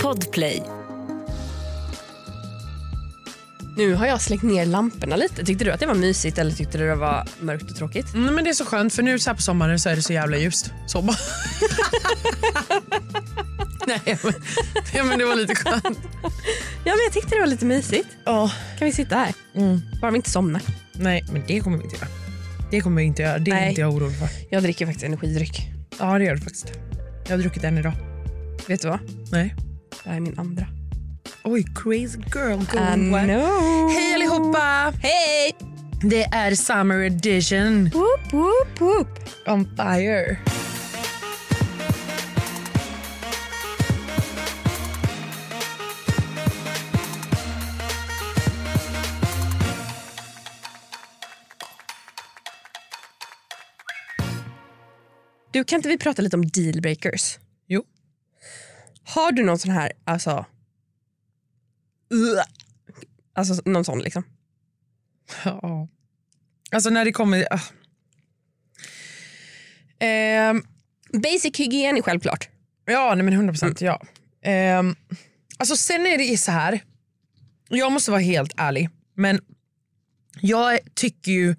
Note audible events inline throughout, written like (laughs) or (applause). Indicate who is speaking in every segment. Speaker 1: Podplay.
Speaker 2: Nu har jag släckt ner lamporna lite. Tyckte du att det var mysigt eller tyckte du det var mörkt och tråkigt?
Speaker 3: Nej, Mm, men det är så skönt för nu så här på sommaren så är det så jävla ljust. Så bara. (laughs) (laughs) Nej, men, ja, men det var lite skönt.
Speaker 2: Ja, men jag tyckte det var lite mysigt.
Speaker 3: Ja,
Speaker 2: Kan vi sitta här?
Speaker 3: Mm.
Speaker 2: Bara vi inte somnar.
Speaker 3: nej, men det kommer vi inte göra. Det kommer vi inte göra. Det är
Speaker 2: Nej.
Speaker 3: inte jag orolig för.
Speaker 2: Jag dricker faktiskt energidryck.
Speaker 3: Ja, det gör du faktiskt. Jag har druckit en idag.
Speaker 2: Vet du vad?
Speaker 3: Nej.
Speaker 2: Det här är min andra. Äh,
Speaker 3: Oj, crazy girl
Speaker 2: I
Speaker 3: going wild.
Speaker 2: know.
Speaker 3: Oh, Hej allihopa!
Speaker 2: Hej!
Speaker 3: Det är summer edition
Speaker 2: Woop, woop, woop.
Speaker 3: on fire.
Speaker 2: Du, kan inte vi prata lite om dealbreakers?
Speaker 3: Jo.
Speaker 2: Har du någon sån här, alltså... Ugh. Alltså någon sån liksom.
Speaker 3: Ja. Alltså när det kommer... ah. Ehm,
Speaker 2: Basic hygien är självklart.
Speaker 3: Ja, nej men 100 procent. Ja. Ehm, alltså sen är det så här. Jag måste vara helt ärlig. Men jag tycker ju...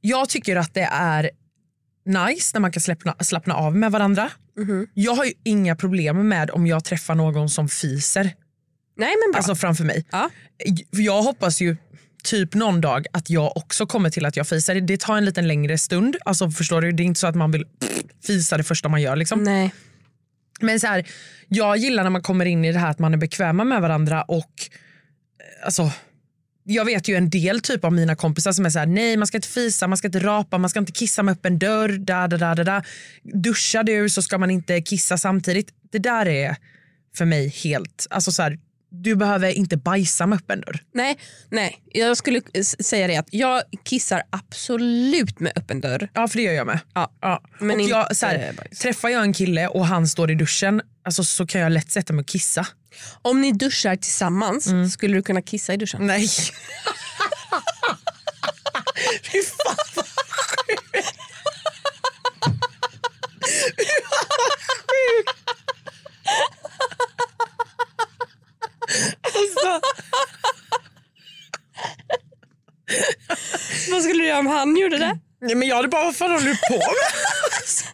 Speaker 3: Jag tycker att det är nice när man kan släppna, slappna av med varandra. Jag har ju inga problem med om jag träffar någon som fiser
Speaker 2: Nej men bra.
Speaker 3: alltså framför mig.
Speaker 2: ja.
Speaker 3: För Jag hoppas ju typ någon dag att jag också kommer till att jag fisar. Det tar en liten längre stund. Alltså förstår du? Det är inte så att man vill fisa det första man gör. Liksom.
Speaker 2: Nej.
Speaker 3: Men så här, jag gillar när man kommer in i det här att man är bekväma med varandra och eh, alltså jag vet ju en del typ av mina kompisar som är så här: nej man ska inte fisa, man ska inte rapa, man ska inte kissa med öppen dörr, da, da, da, da, da. duschar du så ska man inte kissa samtidigt. Det där är för mig helt, alltså så här, du behöver inte bajsa med öppen dörr.
Speaker 2: Nej, nej, jag skulle s- säga det att jag kissar absolut med öppen dörr.
Speaker 3: Ja för det gör jag med.
Speaker 2: Ja.
Speaker 3: Ja.
Speaker 2: Men
Speaker 3: och
Speaker 2: inte
Speaker 3: jag, så här,
Speaker 2: eh, bajs.
Speaker 3: träffar jag en kille och han står i duschen alltså, så kan jag lätt sätta mig och kissa.
Speaker 2: Om ni duschar tillsammans, skulle du kunna kissa i duschen?
Speaker 3: Nej. Fy fan vad
Speaker 2: Vad skulle du göra om han gjorde det?
Speaker 3: Nej, men jag hade bara, vad fan håller du på med?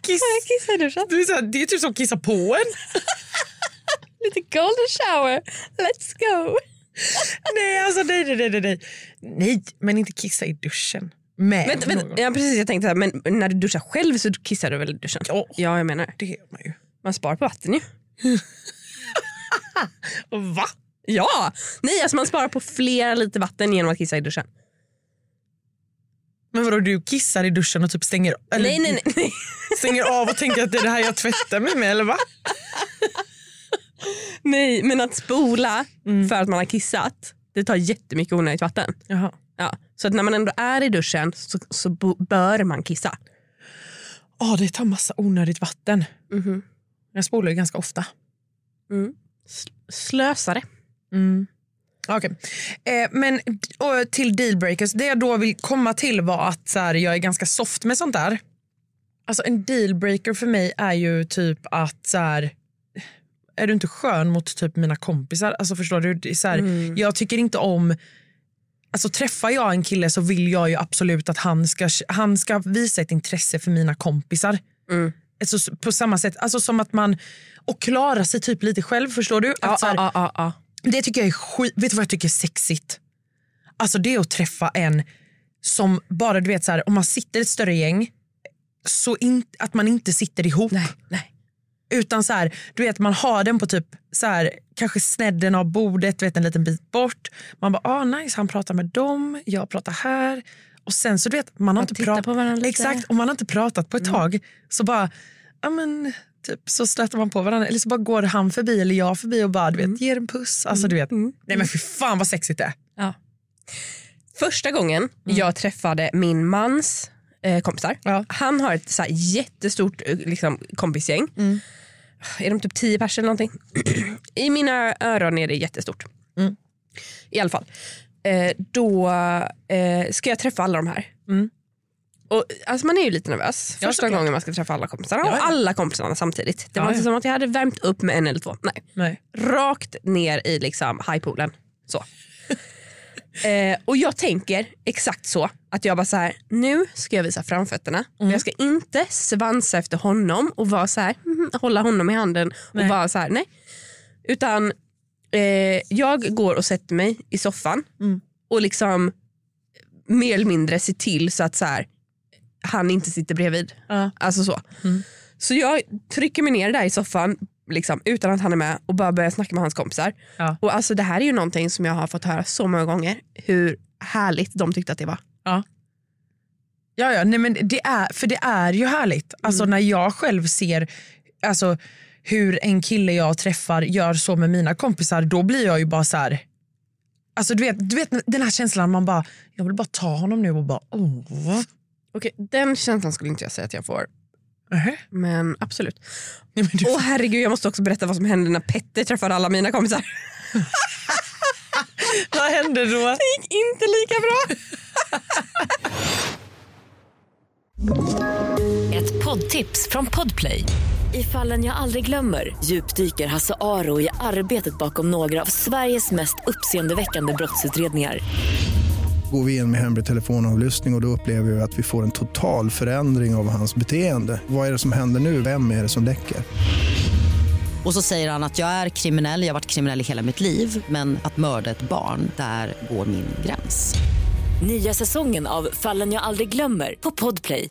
Speaker 3: Kiss.
Speaker 2: Kissa i duschen.
Speaker 3: Du är så här, det är typ som att kissa på en.
Speaker 2: Lite golden shower. Let's go.
Speaker 3: Nej, alltså nej, nej, nej, nej, nej. Nej, men inte kissa i duschen. Med
Speaker 2: Vänta,
Speaker 3: någon.
Speaker 2: vänta. Ja, precis, jag tänkte så här, men när du duschar själv så kissar du väl i duschen?
Speaker 3: Ja.
Speaker 2: Ja, jag menar det.
Speaker 3: Det gör man ju.
Speaker 2: Man sparar på vatten ju.
Speaker 3: Va?
Speaker 2: Ja! Nej, alltså man sparar på flera liter vatten genom att kissa i duschen.
Speaker 3: Men vadå, du kissar i duschen och typ stänger, eller,
Speaker 2: Nej, nej, nej. nej.
Speaker 3: stänger av och tänker att det är det här jag tvättar mig med, eller va?
Speaker 2: nej men att spola för att man har kissat, det tar jättemycket onödigt vatten.
Speaker 3: Jaha.
Speaker 2: Ja. Så att när man ändå är i duschen så, så bo- bör man kissa.
Speaker 3: Ja, det tar massa onödigt vatten.
Speaker 2: Mhm.
Speaker 3: Jag spolar ju ganska ofta.
Speaker 2: Slösare.
Speaker 3: Okej. Eh, men d- och till dealbreakers, det jag då vill komma till var att så här, jag är ganska soft med sånt där. Alltså en dealbreaker för mig är ju typ att så här, är du inte skön mot typ mina kompisar? Alltså förstår du? Det är Så här,
Speaker 2: Mm.
Speaker 3: Jag tycker inte om Alltså träffar jag en kille så vill jag ju absolut att han ska, han ska visa ett intresse för mina kompisar.
Speaker 2: Mm.
Speaker 3: Alltså, s- på samma sätt, alltså som att man... Och klara sig typ lite själv, förstår du? Att så här,
Speaker 2: ja, ja, ja.
Speaker 3: det tycker jag är skit. Vet du vad jag tycker är sexigt? Alltså det är att träffa en som bara, du vet så här, om man sitter i ett större gäng så in, att man inte sitter ihop.
Speaker 2: Nej, nej.
Speaker 3: Utan så här, du vet man har den på typ så här, kanske snedden av bordet, du vet en liten bit bort. Man bara, ah nice han pratar med dem, jag pratar här. Och sen så du vet, man har inte
Speaker 2: tittar
Speaker 3: pratat.
Speaker 2: på varandra lite. Mm.
Speaker 3: Exakt, och man har inte pratat på ett tag. Så bara, ja men typ så stöter man på varandra. Eller så bara går han förbi eller jag förbi och bara du
Speaker 2: Mm.
Speaker 3: vet, ger en puss. Alltså du vet, nej men fy fan vad sexigt det är.
Speaker 2: Ja. Första gången jag träffade min mans eh, kompisar.
Speaker 3: Mm. Ja.
Speaker 2: Han har ett så här, jättestort eh, liksom, kompisgäng.
Speaker 3: Mm.
Speaker 2: Är de typ tio personer eller någonting? (clears throat) I mina öron är det jättestort.
Speaker 3: Mm.
Speaker 2: I alla fall. Eh, då eh, ska jag träffa alla de här. Och, alltså man är ju lite nervös
Speaker 3: Mm. Ja,
Speaker 2: första
Speaker 3: såklart.
Speaker 2: gången man ska träffa alla kompisar och
Speaker 3: Ja, ja.
Speaker 2: alla kompisarna samtidigt. Det var
Speaker 3: Ja,
Speaker 2: inte
Speaker 3: ja.
Speaker 2: som att jag hade värmt upp med en eller två. Nej.
Speaker 3: Nej.
Speaker 2: Rakt ner i liksom highpoolen.
Speaker 3: (laughs)
Speaker 2: Så. eh, och jag tänker exakt så. Att jag bara så här, nu ska jag visa framfötterna.
Speaker 3: Mm.
Speaker 2: Jag ska inte svansa efter honom och vara så här, mhm, hålla honom i handen
Speaker 3: Nej.
Speaker 2: och vara så här, nej. Utan eh, jag går och sätter mig i soffan
Speaker 3: Mm.
Speaker 2: och liksom mer eller mindre ser till så att så här, han inte sitter bredvid.
Speaker 3: Ja.
Speaker 2: Alltså så.
Speaker 3: Mm.
Speaker 2: Så jag trycker mig ner där i soffan liksom, utan att han är med och bara börjar snacka med hans kompisar.
Speaker 3: Ja.
Speaker 2: Och alltså, det här är ju någonting som jag har fått höra så många gånger hur härligt de tyckte att det var.
Speaker 3: Ja, ja, nej men det är, för det är ju härligt. Alltså när jag själv ser alltså, hur en kille jag träffar gör så med mina kompisar, då blir jag ju bara så här... Alltså du vet, du vet den här känslan man bara, jag vill bara ta honom nu och bara, åh.
Speaker 2: Okej, den känslan skulle inte jag säga att jag får.
Speaker 3: Nähä.
Speaker 2: Men absolut.
Speaker 3: Nej, men du,
Speaker 2: Åh herregud, jag måste också berätta vad som hände när Petter träffade alla mina kompisar. (laughs)
Speaker 3: Vad händer då?
Speaker 2: Det gick inte lika bra.
Speaker 1: Ett poddtips från Podplay. I fallen jag aldrig glömmer djupdyker Hasse Aro i arbetet bakom några av Sveriges mest uppseendeväckande brottsutredningar.
Speaker 4: går vi in med hemlig telefonavlyssning och, och då upplever vi att vi får en total förändring av hans beteende. Vad är det som händer nu? Vem är det som läcker?
Speaker 5: Och så säger han att jag är kriminell, jag har varit kriminell i hela mitt liv men att mörda ett barn, där går min gräns.
Speaker 1: Nya säsongen av Fallen jag aldrig glömmer på Podplay.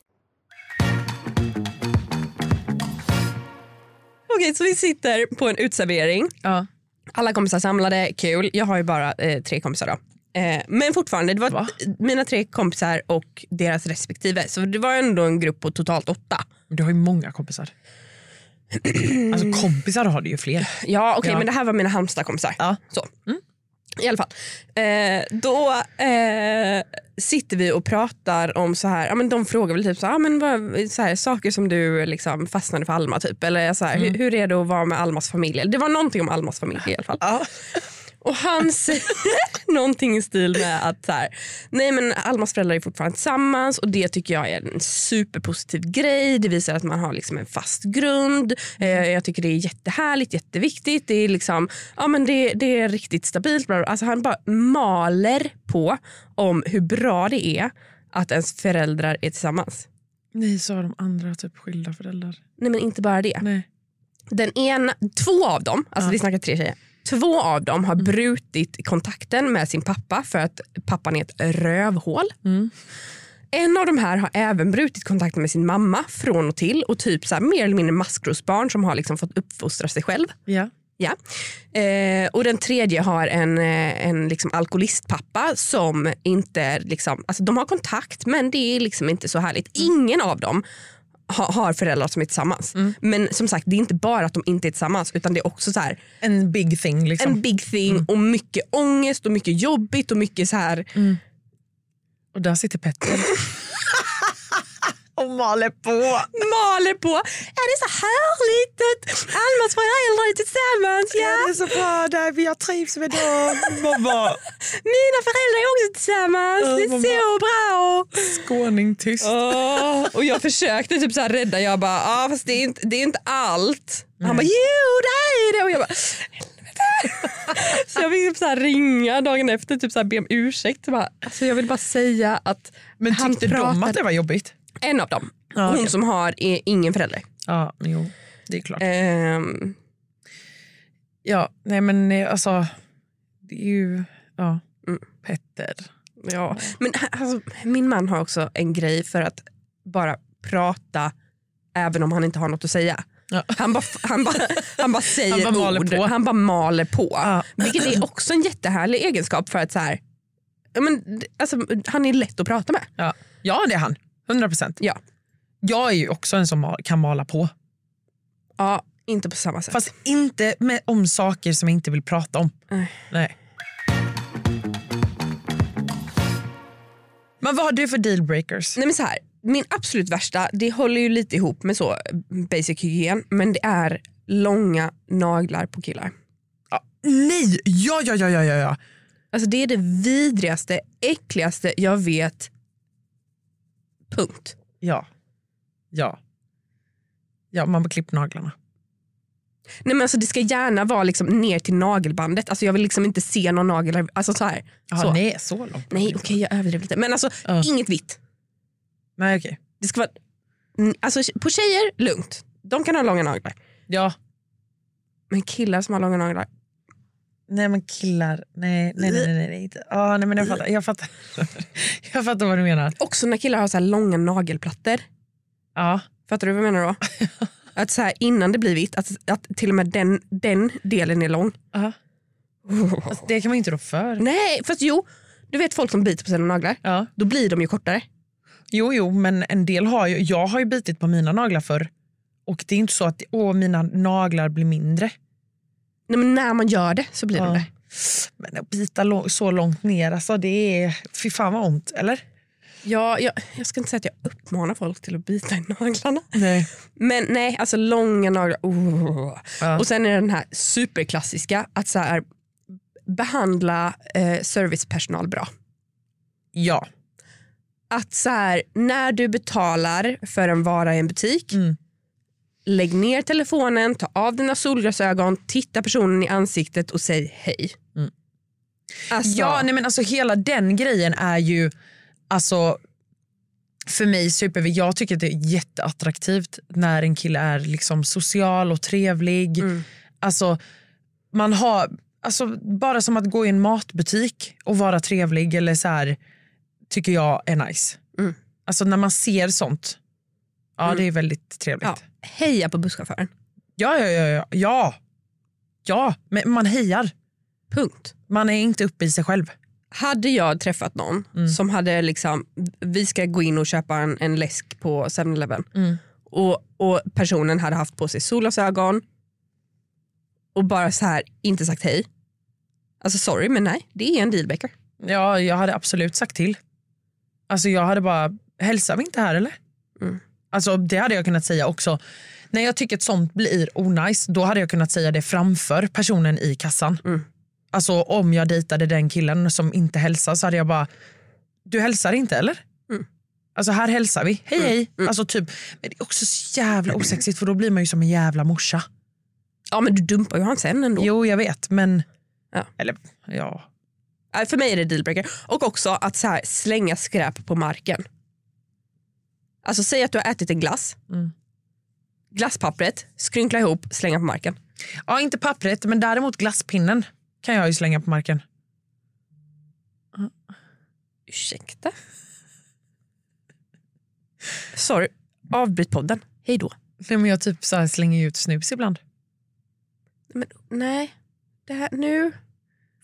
Speaker 2: Okej, så vi sitter på en utservering.
Speaker 3: Ja.
Speaker 2: Alla kompisar samlade, kul. Jag har ju bara eh, tre kompisar då. Eh, men fortfarande, det var
Speaker 3: Va?
Speaker 2: t- mina tre kompisar och deras respektive. Så det var ändå en grupp på totalt åtta.
Speaker 3: Men du har ju många kompisar. alltså kompisar har du ju fler.
Speaker 2: Ja, okej,
Speaker 3: Ja.
Speaker 2: men det här var mina Halmstadkompisar.
Speaker 3: Ja. Mm.
Speaker 2: Så. I alla fall. Eh, då eh, sitter vi och pratar om så här, ja, men de frågar väl typ så här, ja, men vad, så här, saker som du liksom fastnade för Alma. Typ. Eller så här, hur,
Speaker 3: Mm.
Speaker 2: hur är det att vara med Almas familj? Eller Det var någonting om Almas familj i alla fall.
Speaker 3: Ja.
Speaker 2: Och han säger (laughs) någonting i stil med att så här, nej men Almas föräldrar är fortfarande tillsammans och det tycker jag är en superpositiv grej. Det visar att man har liksom en fast grund. Eh, jag tycker det är jättehärligt, jätteviktigt. Det är, liksom, ja, men det, det är riktigt stabilt. bla, bla, bla. Alltså han bara maler på om hur bra det är att ens föräldrar är tillsammans.
Speaker 3: Nej, så har de andra typ skilda föräldrar.
Speaker 2: Nej men inte bara det.
Speaker 3: Nej.
Speaker 2: Den ena, två av dem, alltså
Speaker 3: Ja.
Speaker 2: vi snackar tre tjejer. Två av dem har brutit kontakten med sin pappa för att pappan är ett rövhål.
Speaker 3: Mm.
Speaker 2: En av de här har även brutit kontakten med sin mamma från och till och typ så här, mer eller mindre maskrosbarn som har liksom fått uppfostra sig själv.
Speaker 3: Ja.
Speaker 2: Ja. Eh, och den tredje har en, eh, en liksom alkoholistpappa som inte... Liksom, alltså de har kontakt men det är liksom inte så härligt. Ingen av dem ha, har föräldrar som är tillsammans. Men som sagt det är inte bara att de inte är tillsammans utan det är också så här,
Speaker 3: En big thing liksom.
Speaker 2: en big thing och mycket ångest och mycket jobbigt och mycket så här...
Speaker 3: Och där sitter Petter. (laughs) och maler på.
Speaker 2: maler på. Är det så härligt att Almas föräldrar är tillsammans? Ja.
Speaker 3: Det är så bra, där vi jag trivs med dem. Man bara,
Speaker 2: Mina föräldrar är också tillsammans.
Speaker 3: Ja,
Speaker 2: det är
Speaker 3: vad
Speaker 2: så bra.
Speaker 3: skåning tyst.
Speaker 2: Åh, och jag försökte typ så här rädda, jag bara ah, fast det är inte, det är inte allt. Han bara jo det är det och jag bara helvete. Så jag fick typ så här ringa dagen efter typ så här be om ursäkt. Bara, alltså jag vill bara säga att
Speaker 3: Men
Speaker 2: han
Speaker 3: tyckte de att det var jobbigt?
Speaker 2: En av dem,
Speaker 3: Ja,
Speaker 2: hon
Speaker 3: okej.
Speaker 2: som har eh, ingen förälder.
Speaker 3: Ja, men jo, det är klart.
Speaker 2: Ehm,
Speaker 3: Eh, Ja, nej men eh, alltså, det är ju, ja, Petter.
Speaker 2: ja. Men alltså, min man har också en grej för att bara prata även om han inte har något att säga.
Speaker 3: Ja.
Speaker 2: Han bara, han bara, han bara säger
Speaker 3: Han bara maler
Speaker 2: ord,
Speaker 3: på.
Speaker 2: han bara maler på.
Speaker 3: Ja.
Speaker 2: Vilket är också en jättehärlig egenskap för att så här, ja, men, d- alltså, han är lätt att prata med.
Speaker 3: Ja. ja, det är han. 100 procent.
Speaker 2: Ja.
Speaker 3: Jag är ju också en som mal- kan mala på.
Speaker 2: Ja, inte på samma sätt.
Speaker 3: Fast inte med, om saker som jag inte vill prata om.
Speaker 2: Nej.
Speaker 3: Nej. Men vad har du för dealbreakers?
Speaker 2: Nej, men så här, min absolut värsta, det håller ju lite ihop med så basic hygien, men det är långa naglar på killar.
Speaker 3: Ja, nej! Ja, ja, ja, ja, ja, ja.
Speaker 2: Alltså det är det vidrigaste, äckligaste jag vet Punkt.
Speaker 3: Ja. Ja. Ja, man har klippt naglarna.
Speaker 2: Nej men alltså det ska gärna vara liksom ner till nagelbandet. Alltså jag vill liksom inte se någon nagel. Alltså så här.
Speaker 3: Jaha,
Speaker 2: så.
Speaker 3: nej, så långt.
Speaker 2: Nej okej jag överdrev lite. Men alltså
Speaker 3: Ja.
Speaker 2: inget vitt.
Speaker 3: Nej, okej.
Speaker 2: Det ska vara... Mm, Alltså på tjejer, lugnt. De kan ha långa naglar.
Speaker 3: Ja.
Speaker 2: Men killar som har långa naglar.
Speaker 3: Nej, men killar. Nej, nej, nej. nej, nej, nej. inte. Ah, nej men jag, fattar. Jag, fattar. (laughs) jag fattar vad du menar.
Speaker 2: Också när killar har så här långa nagelplattor.
Speaker 3: Ja.
Speaker 2: Fattar du vad jag menar
Speaker 3: (laughs)
Speaker 2: då? Att så här, innan det blir vitt, att, att till och med den, den delen är
Speaker 3: (laughs)
Speaker 2: lång.
Speaker 3: Ja. Fast det kan man ju inte rå för.
Speaker 2: Nej, fast jo. Du vet folk som biter på sina naglar.
Speaker 3: Ja.
Speaker 2: Då blir de ju kortare.
Speaker 3: Jo, jo, men en del har ju... Jag har ju bitit på mina naglar förr. Och det är inte så att åh, mina naglar blir mindre.
Speaker 2: Nej, men när man gör det så blir de
Speaker 3: Ja.
Speaker 2: det.
Speaker 3: Men att bita lå- så långt ner, alltså det är... Fy fan vad ont, eller?
Speaker 2: Ja, jag, jag ska inte säga att jag uppmanar folk till att bita i naglarna.
Speaker 3: Nej.
Speaker 2: Men nej, alltså långa naglar. Oh.
Speaker 3: Ja.
Speaker 2: Och sen är det den här superklassiska att så här, behandla eh, servicepersonal bra.
Speaker 3: Ja.
Speaker 2: Att så här, när du betalar för en vara i en butik,
Speaker 3: Mm.
Speaker 2: lägg ner telefonen, ta av dina solglasögon, titta personen i ansiktet och säg hej.
Speaker 3: Mm.
Speaker 2: Alltså,
Speaker 3: Ja, nej men alltså hela den grejen är ju alltså för mig super, jag tycker att det är jätteattraktivt när en kille är liksom social och trevlig.
Speaker 2: Mm.
Speaker 3: Alltså man har alltså bara som att gå i en matbutik och vara trevlig eller så här tycker jag är nice.
Speaker 2: Mm.
Speaker 3: Alltså när man ser sånt. Ja,
Speaker 2: Mm.
Speaker 3: det är väldigt trevligt.
Speaker 2: ja, heja på busschauffören.
Speaker 3: Ja, ja, ja, ja. Ja. Ja, men man hejar.
Speaker 2: Punkt.
Speaker 3: Man är inte uppe i sig själv.
Speaker 2: Hade jag träffat någon
Speaker 3: Mm.
Speaker 2: som hade liksom, vi ska gå in och köpa en, en läsk på 7-Eleven
Speaker 3: Mm.
Speaker 2: och, och personen hade haft på sig solglasögon och bara så här inte sagt hej. Alltså sorry men nej, det är en dealbreaker.
Speaker 3: Ja, jag hade absolut sagt till. Alltså jag hade bara, hälsar vi inte här eller?
Speaker 2: Mm.
Speaker 3: Alltså det hade jag kunnat säga också. När jag tycker att sånt blir onajs, då hade jag kunnat säga det framför personen i kassan.
Speaker 2: Mm.
Speaker 3: Alltså om jag dejtade den killen som inte hälsar så hade jag bara, du hälsar inte eller?
Speaker 2: Mm.
Speaker 3: Alltså här hälsar vi, hej hej. Alltså typ, men det är också så jävla osexigt för då blir man ju som en jävla morsa.
Speaker 2: Ja men du dumpar ju han sen ändå.
Speaker 3: Jo jag vet men,
Speaker 2: Ja.
Speaker 3: eller ja.
Speaker 2: Nej, Äh, För mig är det dealbreaker. Och också att så här, slänga skräp på marken. Alltså säg att du har ätit en glass.
Speaker 3: Mm.
Speaker 2: Glasspappret, skrynkla ihop, slänga på marken.
Speaker 3: Ja, inte pappret, men däremot glasspinnen kan jag ju slänga på marken.
Speaker 2: Ursäkta? Sorry, avbryt podden. Hej då.
Speaker 3: Nej, men jag typ så här slänger ju ut snus ibland.
Speaker 2: Men, nej, det här, nu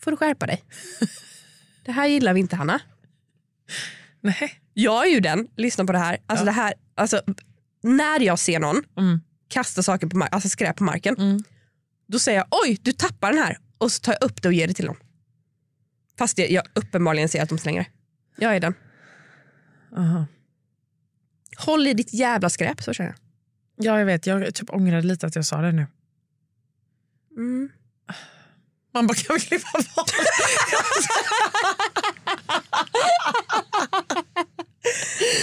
Speaker 2: får du skärpa dig. (laughs) Det här gillar vi inte, Hanna.
Speaker 3: Nej.
Speaker 2: Jag är ju den, lyssna på det här. Alltså,
Speaker 3: Ja.
Speaker 2: det här alltså, när jag ser någon
Speaker 3: Mm.
Speaker 2: kasta saker på, mar- alltså skräp på marken,
Speaker 3: Mm.
Speaker 2: då säger jag oj, du tappar den här. Och så tar jag upp det och ger det till dem. Fast jag, jag uppenbarligen ser att de slänger det. Jag är den.
Speaker 3: Aha.
Speaker 2: Håll i ditt jävla skräp, så känner jag.
Speaker 3: Ja, jag vet. Jag typ ångrade lite att jag sa det nu.
Speaker 2: Mm.
Speaker 3: Man bara, kan vi klippa bort?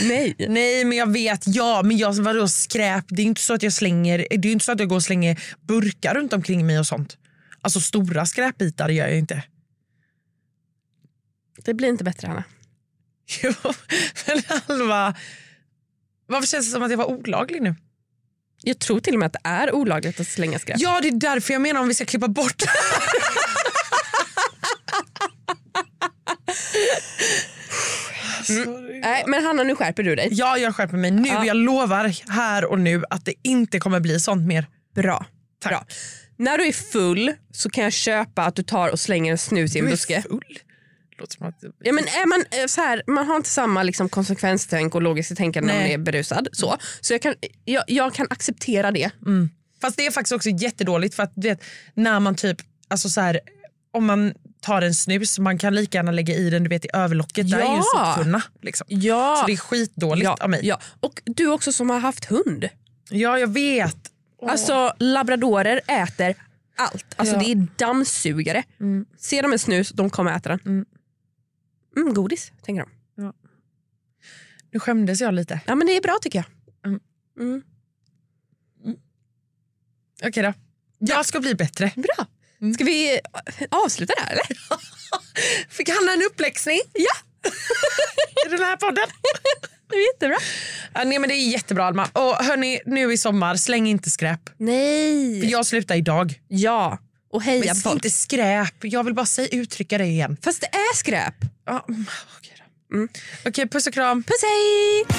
Speaker 2: Nej.
Speaker 3: (laughs) Nej, men jag vet. Ja, men jag, vadå skräp? Det är inte så att jag slänger, det är inte så att jag går och slänger burkar runt omkring mig och sånt. Alltså stora skräpbitar gör jag inte. (laughs)
Speaker 2: Det blir inte bättre, Hanna.
Speaker 3: Jo, men Alva. Varför känns det som att jag var olaglig nu?
Speaker 2: Jag tror till och med att det är olagligt att slänga skräp.
Speaker 3: Ja, det är därför jag menar om vi ska klippa bort Sorry.
Speaker 2: Nej, men Hanna, nu skärper du dig.
Speaker 3: Mm. Ja, jag skärper mig nu.
Speaker 2: Ja.
Speaker 3: Jag lovar här och nu att det inte kommer bli sånt mer.
Speaker 2: Bra.
Speaker 3: Tack.
Speaker 2: Bra. När du är full så kan jag köpa att du tar och slänger en snus i en
Speaker 3: Du är
Speaker 2: buske.
Speaker 3: full. Låter som att...
Speaker 2: Ja, men är man, eh, så här, man har inte samma liksom, konsekvenstänk och logiskt tänkande när man
Speaker 3: Nej.
Speaker 2: är berusad. Så, så jag, kan, jag, jag kan acceptera det.
Speaker 3: Mm. Fast det är faktiskt också jättedåligt för att du vet, när man typ, alltså så här, om man tar en snus, man kan lika gärna lägga i den du vet i överlocket. Där är ju
Speaker 2: Ja.
Speaker 3: soptunna. Liksom.
Speaker 2: Ja.
Speaker 3: Så det är skitdåligt
Speaker 2: ja,
Speaker 3: av mig.
Speaker 2: ja. Och du också som har haft hund.
Speaker 3: Ja, jag vet.
Speaker 2: Alltså labradorer äter allt. Alltså
Speaker 3: Ja.
Speaker 2: det är dammsugare. Ser de en
Speaker 3: Mm.
Speaker 2: Mm, snus, de kommer äta den. Mm. godis, tänker de.
Speaker 3: Nu skämdes jag lite.
Speaker 2: Ja, men det är bra tycker jag.
Speaker 3: Mm.
Speaker 2: Mm.
Speaker 3: Okej då. Jag ska bli bättre.
Speaker 2: Bra.
Speaker 3: Mm.
Speaker 2: Ska vi eh, avsluta där eller?
Speaker 3: (laughs) Fick Hanna en uppläxning
Speaker 2: Ja,
Speaker 3: i den här podden?
Speaker 2: det är jättebra.
Speaker 3: Ja, nej, men det är jättebra Alma. Och hörni, nu i sommar, släng inte skräp. För
Speaker 2: Nej.
Speaker 3: jag slutar idag.
Speaker 2: Ja, och
Speaker 3: Men
Speaker 2: heja på
Speaker 3: säg
Speaker 2: folk.
Speaker 3: inte skräp. Jag vill bara säga, uttrycka det igen.
Speaker 2: Fast det är skräp.
Speaker 3: Ja, mm, Okej, då. Okej, puss och kram.
Speaker 2: Puss hej!